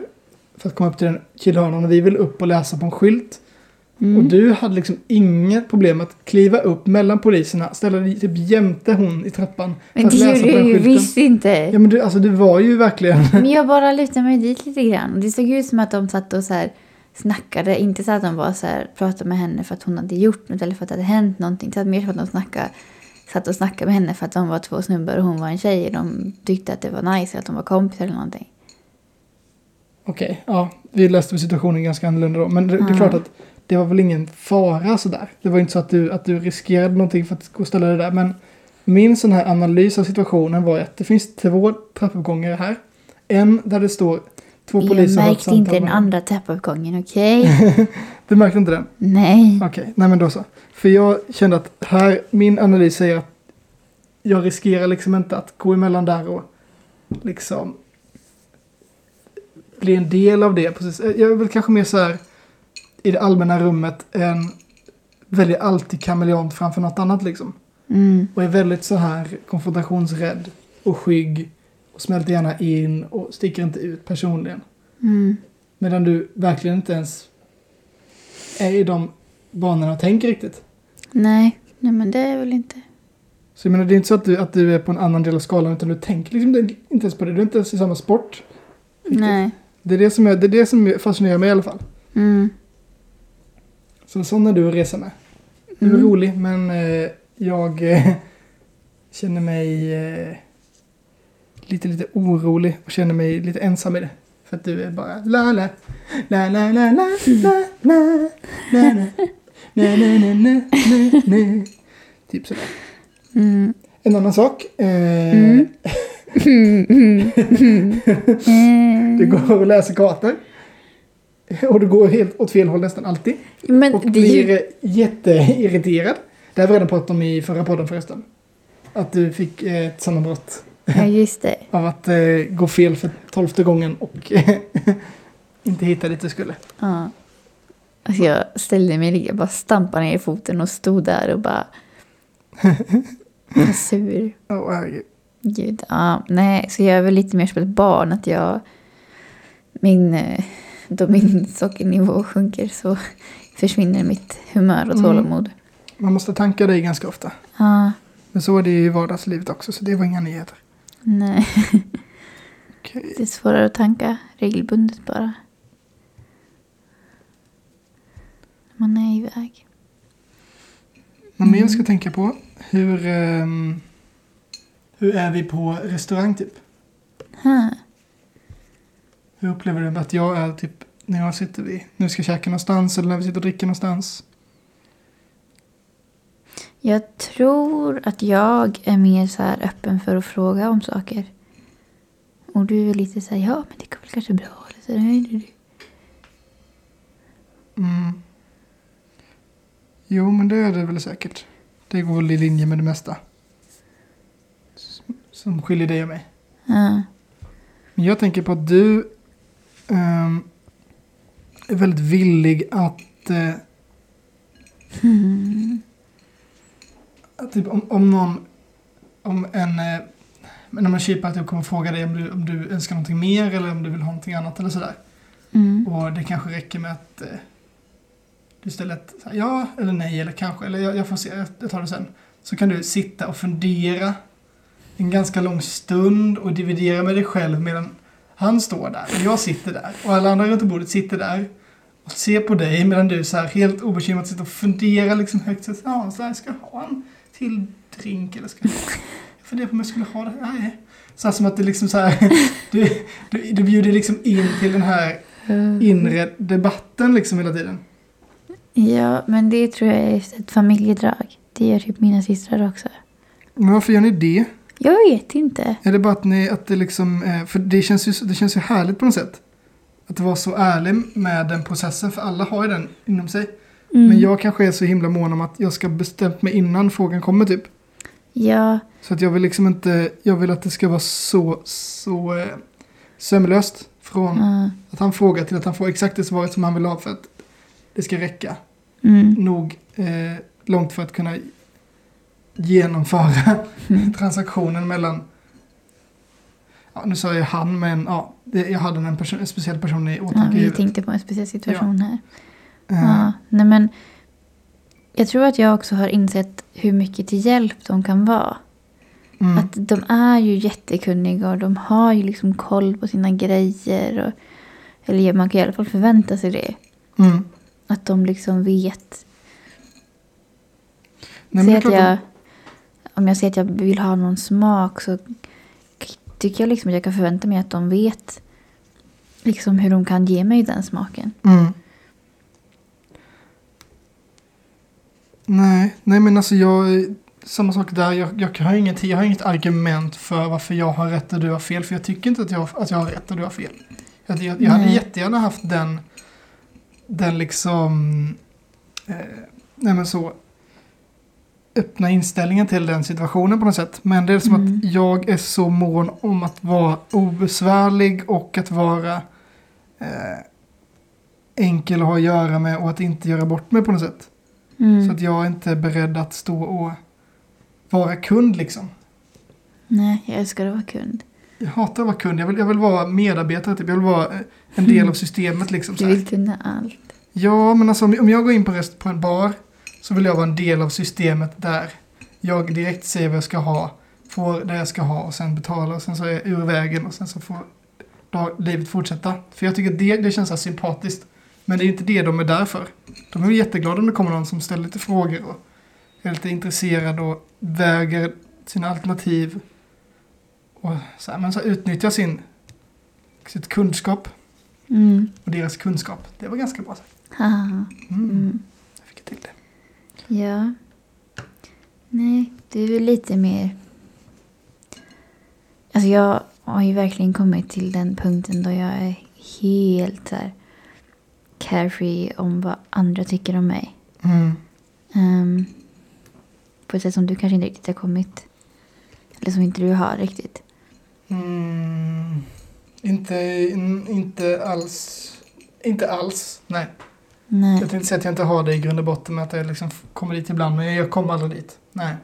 Speaker 1: för att komma upp till den killhörnan. Och vi vill upp och läsa på en skylt.
Speaker 2: Mm.
Speaker 1: Och du hade liksom inget problem att kliva upp mellan poliserna, ställa dig typ jämte hon i trappan.
Speaker 2: men det gjorde jag ju visst inte.
Speaker 1: Ja men du, alltså du var ju
Speaker 2: [LAUGHS]
Speaker 1: verkligen...
Speaker 2: Men jag bara lutade mig dit lite grann. Och Det såg ut som att de satt och så här snackade. Inte så att de bara så här pratade med henne för att hon hade gjort något eller för att det hade hänt någonting. Så att mer som att de snackade, satt och snackade med henne för att de var två snubbar och hon var en tjej. Och de tyckte att det var nice att de var kompisar eller någonting.
Speaker 1: Okej, ja. Vi läste väl situationen ganska annorlunda då. Men det, det är
Speaker 2: Mm.
Speaker 1: klart att det var väl ingen fara sådär. Det var inte så att du, att du riskerade någonting för att gå och ställa dig där. Men min sån här analys av situationen var ju att det finns två trappuppgångar här. En där det står två
Speaker 2: Jag
Speaker 1: poliser har ett
Speaker 2: märkte inte
Speaker 1: samtal
Speaker 2: den
Speaker 1: med varandra.
Speaker 2: andra trappuppgången, okej? [LAUGHS]
Speaker 1: Du märkte inte den?
Speaker 2: Nej.
Speaker 1: Okej, nej men då så. För jag kände att här, min analys säger att jag riskerar liksom inte att gå emellan där och liksom bli en del av det. Precis. Eh, Jag är väl kanske mer så här i det allmänna rummet än väljer alltid kameleont framför något annat liksom.
Speaker 2: Mm.
Speaker 1: Och är väldigt så här konfrontationsrädd och skygg och smälter gärna in och sticker inte ut personligen.
Speaker 2: Mm.
Speaker 1: Medan du verkligen inte ens är i de banorna och tänker riktigt.
Speaker 2: Nej. Nej, men det är väl inte...
Speaker 1: Så jag menar, det är inte så att du, att du är på en annan del av skalan utan du tänker liksom inte inte ens på det. Du är inte ens i samma sport. Riktigt.
Speaker 2: Nej.
Speaker 1: Det är det som, är, det är det som fascinerar mig i alla fall.
Speaker 2: Mm.
Speaker 1: Så sån är du att resa med. Du är
Speaker 2: Mm.
Speaker 1: rolig men eh, jag eh, känner mig eh, lite, lite orolig och känner mig lite ensam i det. För att du är bara la la la la la la la la la la la la la la la Typ sådär.
Speaker 2: Mm.
Speaker 1: En annan sak. Eh,
Speaker 2: Mm. Mm.
Speaker 1: [LAUGHS] Det går att läsa kartor. Och det går helt åt fel håll nästan alltid.
Speaker 2: Mm. Men
Speaker 1: Och
Speaker 2: det är
Speaker 1: blir eh,
Speaker 2: ju...
Speaker 1: jätteirriterad. Det har vi redan pratat om i förra podden förresten. Att du fick eh, ett sammanbrott
Speaker 2: Ja, just det.
Speaker 1: av att eh, gå fel för tolfte gången och eh, [LAUGHS] inte hitta dit du skulle.
Speaker 2: Ja. Alltså jag ställde mig ner, jag bara stampade ner i foten och stod där
Speaker 1: [LAUGHS]
Speaker 2: och bara... Jag är sur.
Speaker 1: Åh, herregud.
Speaker 2: Gud. Ja, nej, så jag är väl lite mer som ett barn att jag... Min, eh, då
Speaker 1: Mm.
Speaker 2: min sockernivå sjunker så försvinner mitt humör och
Speaker 1: Mm.
Speaker 2: tålamod.
Speaker 1: Man måste tanka dig ganska ofta.
Speaker 2: Ja,
Speaker 1: Men så är det ju i vardagslivet också, så det var inga nyheter.
Speaker 2: Nej,
Speaker 1: Okej.
Speaker 2: det är svårare att tanka regelbundet bara. Man är iväg.
Speaker 1: Något mer vi ska tänka på? Hur, ehm, hur är vi på restaurang typ?
Speaker 2: Huh.
Speaker 1: Hur upplever du att jag är typ när jag sitter vid, nu ska käka någonstans eller när vi sitter och dricker någonstans?
Speaker 2: Jag tror att jag är mer så här öppen för att fråga om saker. Och du är lite så här, ja men det går väl kanske bra. Eller så, här, nej, nej, nej.
Speaker 1: Mm. Jo, men det är det väl säkert. Det går väl i linje med det mesta. S- Som skiljer dig och mig.
Speaker 2: Ja.
Speaker 1: Men jag tänker på att du ehm, är väldigt villig att... Eh,
Speaker 2: Hmm.
Speaker 1: att typ om, om någon... Om en... Eh, men om en kypare typ kommer fråga dig om du, om du önskar någonting mer eller om du vill ha någonting annat eller sådär.
Speaker 2: Mm.
Speaker 1: Och det kanske räcker med att eh, du ställer ett så här, ja eller nej eller kanske, eller jag, jag får se, jag- jag tar det sen. Så kan du sitta och fundera en ganska lång stund och dividera med dig själv medan han står där och jag sitter där och alla andra runt bordet sitter där och ser på dig medan du så här helt obekymrat sitter och funderar liksom högt. Så här, ja, så här, ska jag ha en till drink eller ska jag ha- jag funderar på om jag skulle ha det här? Nej. Så här som att det liksom så här, [LAUGHS] du, du, du bjuder liksom in till den här
Speaker 2: Mm.
Speaker 1: inre debatten liksom hela tiden.
Speaker 2: Ja, men det tror jag är ett familjedrag. Det gör typ mina systrar också.
Speaker 1: Men varför gör ni det?
Speaker 2: Jag vet inte.
Speaker 1: Är det bara att ni, att det liksom, eh, för det känns, ju, det känns ju härligt på något sätt. Att vara så ärlig med den processen, för alla har ju den inom sig.
Speaker 2: Mm.
Speaker 1: Men jag kanske är så himla mån om att jag ska bestämt mig innan frågan kommer typ.
Speaker 2: Ja,
Speaker 1: Så att jag vill liksom inte, jag vill att det ska vara så, så eh, sömlöst. Från
Speaker 2: ja.
Speaker 1: att han frågar till att han får exakt det svaret som han vill ha för att det ska räcka.
Speaker 2: Mm.
Speaker 1: nog eh, långt för att kunna genomföra [CLEARS THROAT] transaktionen mellan ja, nu sa jag han men ja, det, jag hade en, person, en speciell person i åtanke Eh,
Speaker 2: ja,
Speaker 1: i
Speaker 2: vi
Speaker 1: huvudet.
Speaker 2: tänkte på en speciell situation här.
Speaker 1: Eh,
Speaker 2: Ja, nej men jag tror att jag också har insett hur mycket till hjälp de kan vara.
Speaker 1: mm,
Speaker 2: Att de är ju jättekunniga och de har ju liksom koll på sina grejer. Och, eller man kan i alla fall förvänta sig det.
Speaker 1: mm.
Speaker 2: Att de liksom vet.
Speaker 1: Nej, men det
Speaker 2: Säg
Speaker 1: är
Speaker 2: att
Speaker 1: klart
Speaker 2: jag, om jag säger att jag vill ha någon smak så k- tycker jag liksom att jag kan förvänta mig att de vet liksom hur de kan ge mig den smaken.
Speaker 1: att- mm. Nej, nej men alltså jag, samma sak där, jag, jag, har inget, jag har inget argument för varför jag har rätt och du har fel, för jag tycker inte att jag, att jag har rätt och du har fel. Jag, jag, jag hade
Speaker 2: Nej.
Speaker 1: jättegärna haft den, den liksom, eh, nej men så, öppna inställningen till den situationen på något sätt. Men det är som
Speaker 2: Mm.
Speaker 1: att jag är så mån om att vara obesvärlig och att vara eh, enkel att ha att göra med och att inte göra bort mig på något sätt.
Speaker 2: Mm.
Speaker 1: Så att jag är inte beredd att stå och vara kund liksom.
Speaker 2: Nej, jag älskar att vara kund.
Speaker 1: Jag hatar att vara kund, jag vill, jag vill vara medarbetare typ. Jag vill vara eh, en
Speaker 2: Mm.
Speaker 1: del av systemet liksom. Så
Speaker 2: Du
Speaker 1: här.
Speaker 2: vill kunna allt.
Speaker 1: Ja, men alltså om om jag går in på, rest, på en bar så vill jag vara en del av systemet där. Jag direkt säger vad jag ska ha, får det jag ska ha och sen betalar och sen så är jag ur vägen och sen så får dag- livet fortsätta. För jag tycker det, det känns så här sympatiskt. Men det är inte det de är där för. De är ju jätteglada om det kommer någon som ställer lite frågor och är lite intresserad och väger sina alternativ. Och så här, men så här, utnyttjar sin, sitt kunskap
Speaker 2: Mm.
Speaker 1: och deras kunskap. Det var ganska bra sagt.
Speaker 2: Haha.
Speaker 1: Mm.
Speaker 2: Mm.
Speaker 1: Jag fick till det.
Speaker 2: Ja. Nej, du är lite mer... Alltså jag har ju verkligen kommit till den punkten då jag är helt så här carefree om vad andra tycker om mig.
Speaker 1: Mm.
Speaker 2: Ehm, på ett sätt som du kanske inte riktigt har kommit. Eller som inte du har riktigt.
Speaker 1: Mm. Inte, in, inte alls. Inte alls. Nej. Jag
Speaker 2: Nej.
Speaker 1: tänkte inte säga att jag inte har det i grund och botten med att jag liksom f- kommer dit ibland. Men jag kommer aldrig dit. Nej.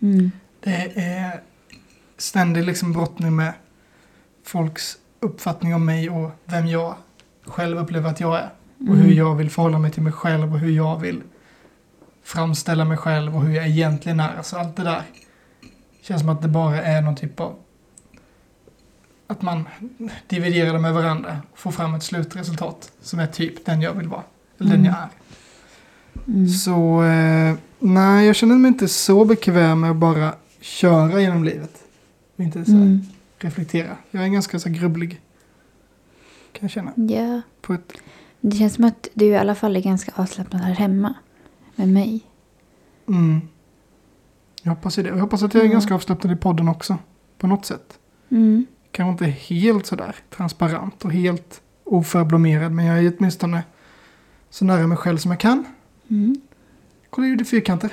Speaker 2: Mm.
Speaker 1: Det är ständig liksom brottning med folks uppfattning om mig och vem jag själv upplever att jag är. Och hur
Speaker 2: Mm.
Speaker 1: jag vill förhålla mig till mig själv och hur jag vill framställa mig själv och hur jag egentligen är. Alltså allt det där känns som att det bara är någon typ av att man dividerar dem med varandra och får fram ett slutresultat som är typ den jag vill vara. Eller den
Speaker 2: Mm.
Speaker 1: jag är.
Speaker 2: Mm.
Speaker 1: Så eh, nej, jag känner mig inte så bekväm med att bara köra genom livet. Och inte så här,
Speaker 2: Mm.
Speaker 1: reflektera. Jag är ganska så här, grubblig. Kan jag känna.
Speaker 2: Ja.
Speaker 1: På ett,
Speaker 2: Det känns som att du i alla fall är ganska avslappnad här hemma. Med mig.
Speaker 1: mm. Jag hoppas ju det. Jag hoppas att jag är
Speaker 2: Mm.
Speaker 1: ganska avslappnad i podden också. På något sätt.
Speaker 2: Mm.
Speaker 1: Kanske inte helt sådär transparent och helt oförblommerad. Men jag är åtminstone så nära mig själv som jag kan.
Speaker 2: Mm.
Speaker 1: Kolla, jag gjorde fyrkanter.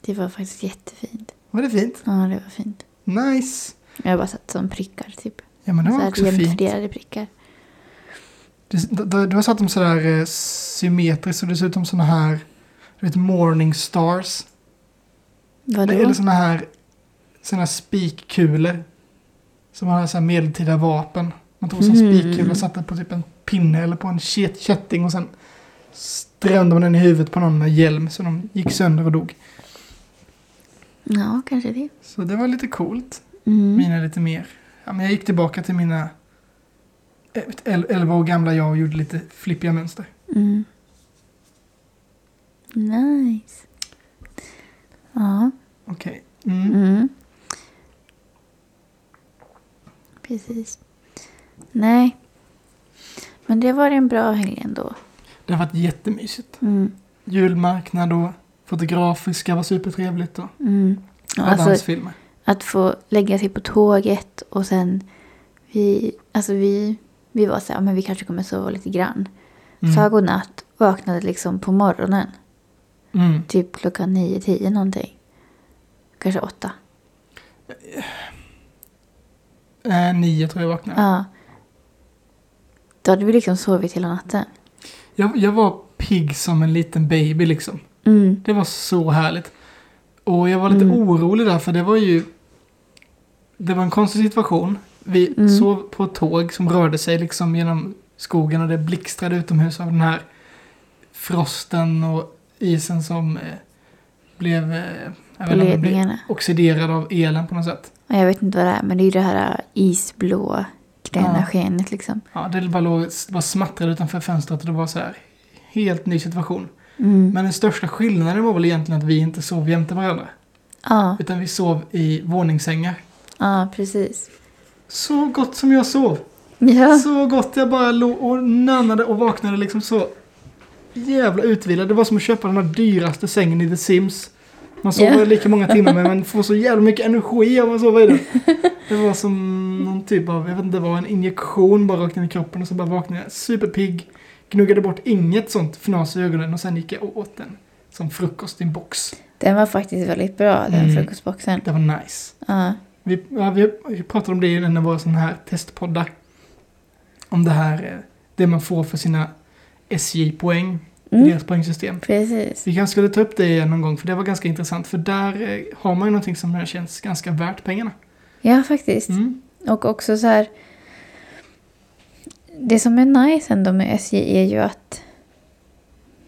Speaker 2: Det var faktiskt jättefint.
Speaker 1: Var det fint?
Speaker 2: Ja, det var fint.
Speaker 1: Nice!
Speaker 2: Jag har bara satt som prickar typ.
Speaker 1: Ja, men det
Speaker 2: så
Speaker 1: var
Speaker 2: här
Speaker 1: också fint.
Speaker 2: jämfördelade prickar.
Speaker 1: Du, du, du har satt dem sådär eh, symmetriskt och dessutom sådana här du vet, morning stars.
Speaker 2: Vadå?
Speaker 1: Eller sådana här, såna här spikkulor. Som har så här medeltida vapen. Man tog en
Speaker 2: Mm.
Speaker 1: spikkula och satte på typ en pinne eller på en ket- kätting och sen strände man den i huvudet på någon med hjälm så de gick sönder och dog.
Speaker 2: Ja, kanske det.
Speaker 1: Så det var lite coolt.
Speaker 2: Mm.
Speaker 1: Mina är lite mer. Ja, men jag gick tillbaka till mina eh, el- 11 år gamla jag och gjorde lite flippiga mönster.
Speaker 2: Mm. Nice. Ja.
Speaker 1: Okej. Mm.
Speaker 2: Mm. Precis. Nej. Men det var en bra helg ändå.
Speaker 1: Det har varit jättemysigt.
Speaker 2: Mm.
Speaker 1: Julmarknad och fotografer ska vara supertrevligt och
Speaker 2: Mm. Och
Speaker 1: alla hans
Speaker 2: Alltså,
Speaker 1: filmer.
Speaker 2: att få lägga sig på tåget och sen... Vi, alltså vi, vi var så här, men vi kanske kommer sova lite grann.
Speaker 1: Mm.
Speaker 2: Sa godnatt, vaknade liksom på morgonen.
Speaker 1: Mm.
Speaker 2: Typ klockan nio, tio någonting. Kanske åtta.
Speaker 1: Eh, nio tror jag vaknade.
Speaker 2: Ja. Då hade vi liksom sovit hela natten.
Speaker 1: Jag, jag var pigg som en liten baby liksom.
Speaker 2: Mm.
Speaker 1: Det var så härligt. Och jag var lite
Speaker 2: Mm.
Speaker 1: orolig där för det var ju... Det var en konstig situation. Vi
Speaker 2: Mm.
Speaker 1: sov på ett tåg som rörde sig liksom genom skogen och det blixtrade utomhus av den här frosten och isen som eh, blev... Eh, jag vet
Speaker 2: På
Speaker 1: inte om den blev
Speaker 2: ledningarna.
Speaker 1: oxiderad av elen på något sätt.
Speaker 2: Ja, Jag vet inte vad det är, men det är ju det här äh, isblå gröna
Speaker 1: Ja.
Speaker 2: skenet liksom.
Speaker 1: Ja, det bara, låg, bara smattrade utanför fönstret och det var så här helt ny situation.
Speaker 2: Mm.
Speaker 1: Men den största skillnaden var väl egentligen att vi inte sov jämte varandra.
Speaker 2: Ja,
Speaker 1: Utan vi sov i våningssängar.
Speaker 2: ja, precis.
Speaker 1: Så gott som jag sov.
Speaker 2: Ja,
Speaker 1: Så gott jag bara låg och nannade och vaknade liksom så jävla utvilad. Det var som att köpa den här dyraste sängen i The Sims. Man sover
Speaker 2: Ja.
Speaker 1: lika många timmar men man
Speaker 2: [LAUGHS]
Speaker 1: får så jävla mycket energi av att sova i den. Det var som någon typ av, jag vet inte, det var en injektion bara rakt in i kroppen och så bara vaknade jag superpigg. Gnuggade bort inget sånt fnas i ögonen och sen gick jag och åt den som frukost i en box.
Speaker 2: den var faktiskt väldigt bra, den
Speaker 1: Mm.
Speaker 2: frukostboxen.
Speaker 1: Det var nice.
Speaker 2: Ja.
Speaker 1: Vi, ja, vi vi pratade om det i en av våra sådana här testpoddar. Om det här, eh, det man får för sina SJ-poäng,
Speaker 2: Mm.
Speaker 1: deras poängsystem.
Speaker 2: Precis.
Speaker 1: Vi kanske skulle ta upp det igen någon gång, för det var ganska intressant. För där eh, har man ju någonting som känns ganska värt pengarna.
Speaker 2: Ja, faktiskt.
Speaker 1: Mm.
Speaker 2: Och också så här... Det som är nice ändå med SJ är ju att...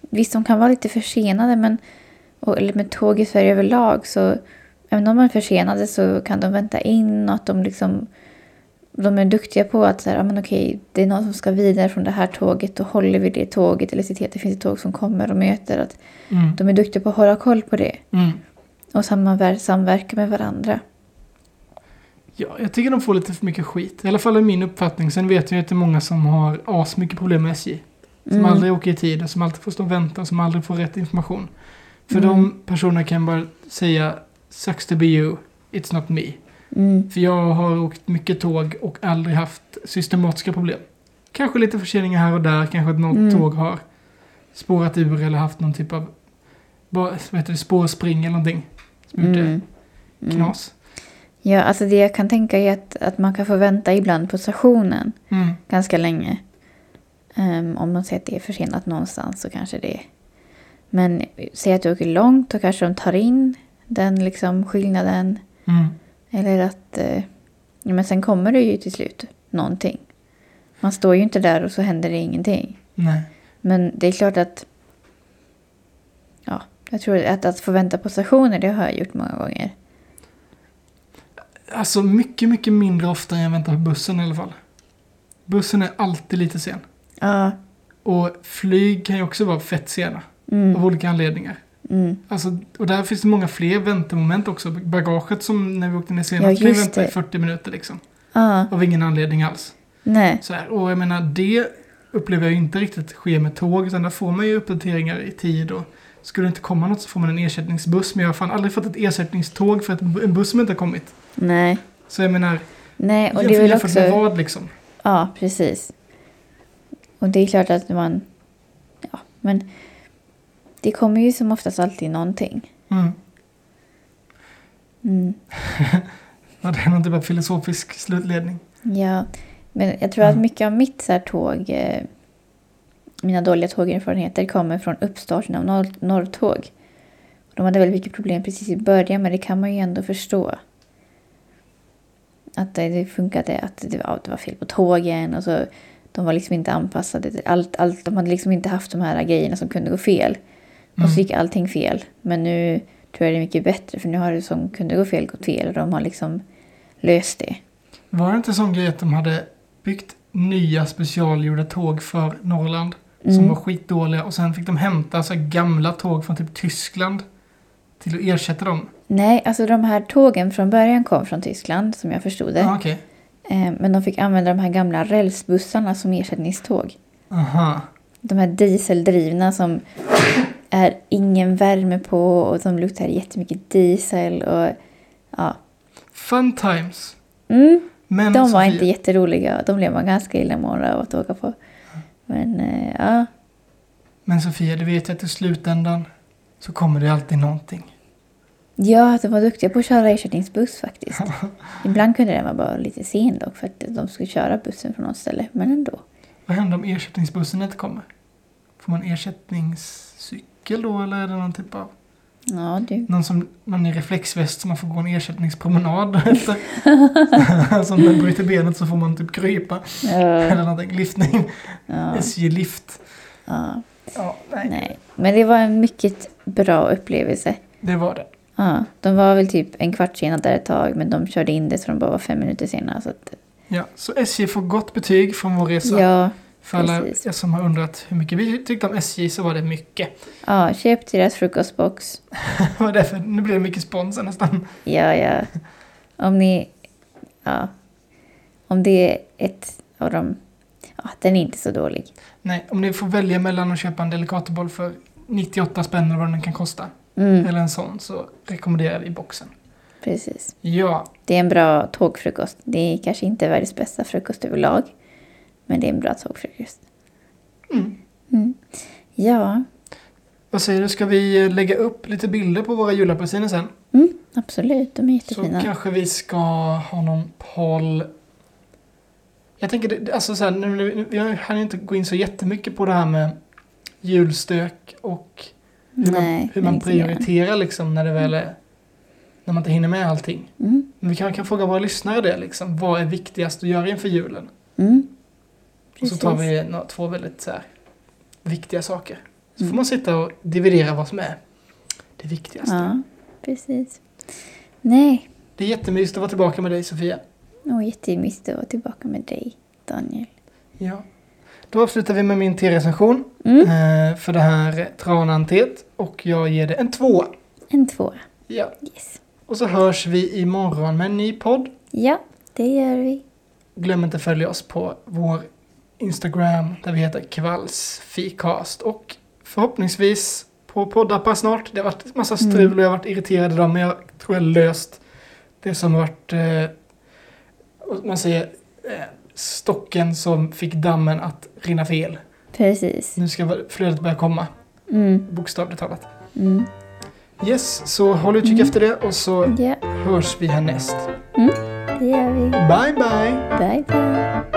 Speaker 2: Visst, de kan vara lite försenade, men... Och, eller med tåg i Sverige överlag, så... Även om de är försenade så kan de vänta in och att de liksom... De är duktiga på att så här, ah, men okej, det är någon som ska vidare från det här tåget, då håller vi det tåget eller ser till att det finns ett tåg som kommer och möter. Att
Speaker 1: Mm.
Speaker 2: de är duktiga på att hålla koll på det
Speaker 1: Mm.
Speaker 2: och samver- samverka med varandra.
Speaker 1: Ja, jag tycker de får lite för mycket skit. I alla fall är min uppfattning. Sen vet jag ju att det är många som har asmycket problem med SJ. Som
Speaker 2: Mm.
Speaker 1: aldrig åker i tid och som alltid får stå och vänta och som aldrig får rätt information. För
Speaker 2: Mm.
Speaker 1: de personerna kan bara säga “Sucks to be you, it's not me”.
Speaker 2: Mm.
Speaker 1: För jag har åkt mycket tåg och aldrig haft systematiska problem. Kanske lite förseningar här och där, kanske att något
Speaker 2: Mm.
Speaker 1: tåg har spårat ur eller haft någon typ av bara, vad heter det, spårspring eller någonting. Som gjort det
Speaker 2: Mm. Mm.
Speaker 1: knas.
Speaker 2: Ja, alltså det jag kan tänka är att, att man kan få vänta ibland på stationen
Speaker 1: Mm.
Speaker 2: ganska länge. Ehm, om de säger att det är försenat någonstans så kanske det är. Men säg att du åker långt då kanske de tar in den liksom skillnaden.
Speaker 1: Mm.
Speaker 2: Eller att... Eh, ja, men sen kommer det ju till slut någonting. Man står ju inte där och så händer det ingenting.
Speaker 1: Nej.
Speaker 2: Men det är klart att... Ja, jag tror att, att få vänta på stationer det har jag gjort många gånger.
Speaker 1: Alltså mycket, mycket mindre ofta än jag väntar på bussen i alla fall. Bussen är alltid lite sen.
Speaker 2: Ja.
Speaker 1: Och flyg kan ju också vara fett sena. Av
Speaker 2: Mm.
Speaker 1: olika anledningar.
Speaker 2: Mm.
Speaker 1: Alltså, och där finns det många fler väntemoment också. Bagaget som när vi åkte ner
Speaker 2: Ja,
Speaker 1: senast, ja, vi
Speaker 2: just
Speaker 1: vänta i
Speaker 2: det.
Speaker 1: 40 minuter liksom.
Speaker 2: Ja.
Speaker 1: Av ingen anledning alls.
Speaker 2: Ah, Nej.
Speaker 1: Så här. Och jag menar, det upplever jag ju inte riktigt sker med tåg. Utan där får man ju uppdateringar i tid. Och skulle det inte komma något så får man en ersättningsbuss. Men jag har fan aldrig fått ett ersättningståg för att en buss som inte har kommit.
Speaker 2: Nej.
Speaker 1: Så jag menar,
Speaker 2: Nej, och det är
Speaker 1: jämfört,
Speaker 2: väl
Speaker 1: jämfört med
Speaker 2: också...
Speaker 1: vad liksom.
Speaker 2: Ja, precis. Och det är klart att man... Ja, men... Det kommer ju som oftast alltid någonting.
Speaker 1: Mm.
Speaker 2: Mm.
Speaker 1: Ja, det är någon typ av filosofisk slutledning.
Speaker 2: Ja, men jag
Speaker 1: Mm.
Speaker 2: tror att mycket av mitt så här tåg, eh, mina dåliga tågerfarenheter kommer från uppstarten av norr, Norrtåg. De hade väldigt mycket problem precis i början, men det kan man ju ändå förstå. Att det, det funkade, att det, ja, det var fel på tågen och så de var liksom inte anpassade. till Allt, allt, de hade liksom inte haft de här grejerna som kunde gå fel. Och
Speaker 1: Mm.
Speaker 2: så gick allting fel. Men nu tror jag det är mycket bättre, för nu har det som kunde gå fel gått fel och de har liksom löst det.
Speaker 1: Var det inte sån grej att de hade byggt nya specialgjorda tåg för Norrland? Som
Speaker 2: Mm.
Speaker 1: var skitdåliga och sen fick de hämta så här gamla tåg från typ Tyskland till att ersätta dem.
Speaker 2: Nej, alltså de här tågen från början kom från Tyskland som jag förstod det.
Speaker 1: Ja, Ah, okej.
Speaker 2: Eh, Men de fick använda de här gamla rälsbussarna som ersättningståg.
Speaker 1: Aha.
Speaker 2: De här dieseldrivna som är ingen värme på och som luktar jättemycket diesel och ja.
Speaker 1: Fun times.
Speaker 2: Mm,
Speaker 1: Men
Speaker 2: de var
Speaker 1: Sofia,
Speaker 2: inte jätteroliga. De blev man ganska illamående av att åka på. Men eh, ja,
Speaker 1: men Sofia, du vet ju att i slutändan så kommer det alltid någonting.
Speaker 2: ja, de var duktiga på att köra
Speaker 1: [LAUGHS]
Speaker 2: ersättningsbuss faktiskt. Ibland kunde den vara bara lite sen dock för att de skulle köra bussen från något ställe, men ändå.
Speaker 1: Vad händer om ersättningsbussen inte kommer? Får man ersättningscykel då eller är det någon typ av
Speaker 2: Ja, du.
Speaker 1: Någon, som, någon i reflexväst som man får gå en ersättningspromenad [LAUGHS]
Speaker 2: [LAUGHS]
Speaker 1: efter. som den bryter benet så får man typ krypa.
Speaker 2: Ja.
Speaker 1: Eller någonting. Lyftning.
Speaker 2: Ja.
Speaker 1: SJ-lift.
Speaker 2: Ja,
Speaker 1: Ja, nej.
Speaker 2: nej. Men det var en mycket bra upplevelse.
Speaker 1: Det var det.
Speaker 2: Ja, de var väl typ en kvart sena där ett tag, men de körde in det så de bara var fem minuter sena. Så att,
Speaker 1: Ja, så SJ får gott betyg från vår resa.
Speaker 2: ja,
Speaker 1: För alla
Speaker 2: precis.
Speaker 1: er som har undrat hur mycket vi tyckte om SJ så var det mycket. [LAUGHS]
Speaker 2: ja, köp deras frukostbox.
Speaker 1: Vad är det för? Nu blir det mycket spons här nästan.
Speaker 2: Ja, ja. Om ni... Ja. Om det är ett av dem... Ja, den är inte så dålig.
Speaker 1: Nej, om ni får välja mellan att köpa en delikatoboll för 98 spänn eller vad den kan kosta.
Speaker 2: Mm,
Speaker 1: Eller en sån så rekommenderar vi boxen.
Speaker 2: precis.
Speaker 1: Ja,
Speaker 2: Det är en bra tågfrukost. Det är kanske inte världens bästa frukost överlag, men det är en bra tågfrukost.
Speaker 1: Mm.
Speaker 2: Mm. Ja,
Speaker 1: Vad säger du, ska vi lägga upp lite bilder på våra julapelsiner sen?
Speaker 2: mm, absolut. De är
Speaker 1: Så
Speaker 2: jättefina.
Speaker 1: kanske vi ska ha någon poll. Jag tänker, det- alltså så här, nu, nu, jag hann ju inte gå in så jättemycket på det här med julstök och hur man,
Speaker 2: Nej,
Speaker 1: hur man
Speaker 2: inte mer.
Speaker 1: prioriterar liksom när det väl är, när man inte hinner med allting.
Speaker 2: Mm.
Speaker 1: Men vi kanske kan fråga våra lyssnare det liksom, vad är viktigast att göra inför julen?
Speaker 2: Mm.
Speaker 1: Och så tar
Speaker 2: Precis.
Speaker 1: vi nå- två väldigt så här, viktiga saker. Så får
Speaker 2: Mm.
Speaker 1: man sitta och dividera vad som är det viktigaste.
Speaker 2: Ja, precis. Nej,
Speaker 1: Det är jättemysigt att vara tillbaka med dig Sofia.
Speaker 2: och jättemysigt att vara tillbaka med dig, Daniel.
Speaker 1: Ja. Då avslutar vi med min T-recension
Speaker 2: Mm.
Speaker 1: eh, för det här tranantet och jag ger det en tvåa.
Speaker 2: En tvåa.
Speaker 1: Ja.
Speaker 2: Yes.
Speaker 1: Och så hörs vi imorgon med en ny podd.
Speaker 2: Ja, det gör vi.
Speaker 1: Glöm inte att följa oss på vår Instagram där vi heter kvalsfikast och förhoppningsvis på poddappar snart. Det har varit massa strul
Speaker 2: Mm.
Speaker 1: och jag har varit irriterad idag men jag tror jag har löst det som har varit, eh, vad man säger, eh, stocken som fick dammen att rinna fel.
Speaker 2: Precis.
Speaker 1: Nu ska flödet börja komma,
Speaker 2: Mm.
Speaker 1: bokstavligt talat.
Speaker 2: Mm.
Speaker 1: Yes, så håll utkik
Speaker 2: Mm.
Speaker 1: efter det och så
Speaker 2: Ja,
Speaker 1: hörs vi härnäst.
Speaker 2: det gör vi.
Speaker 1: Bye bye!
Speaker 2: Bye, bye.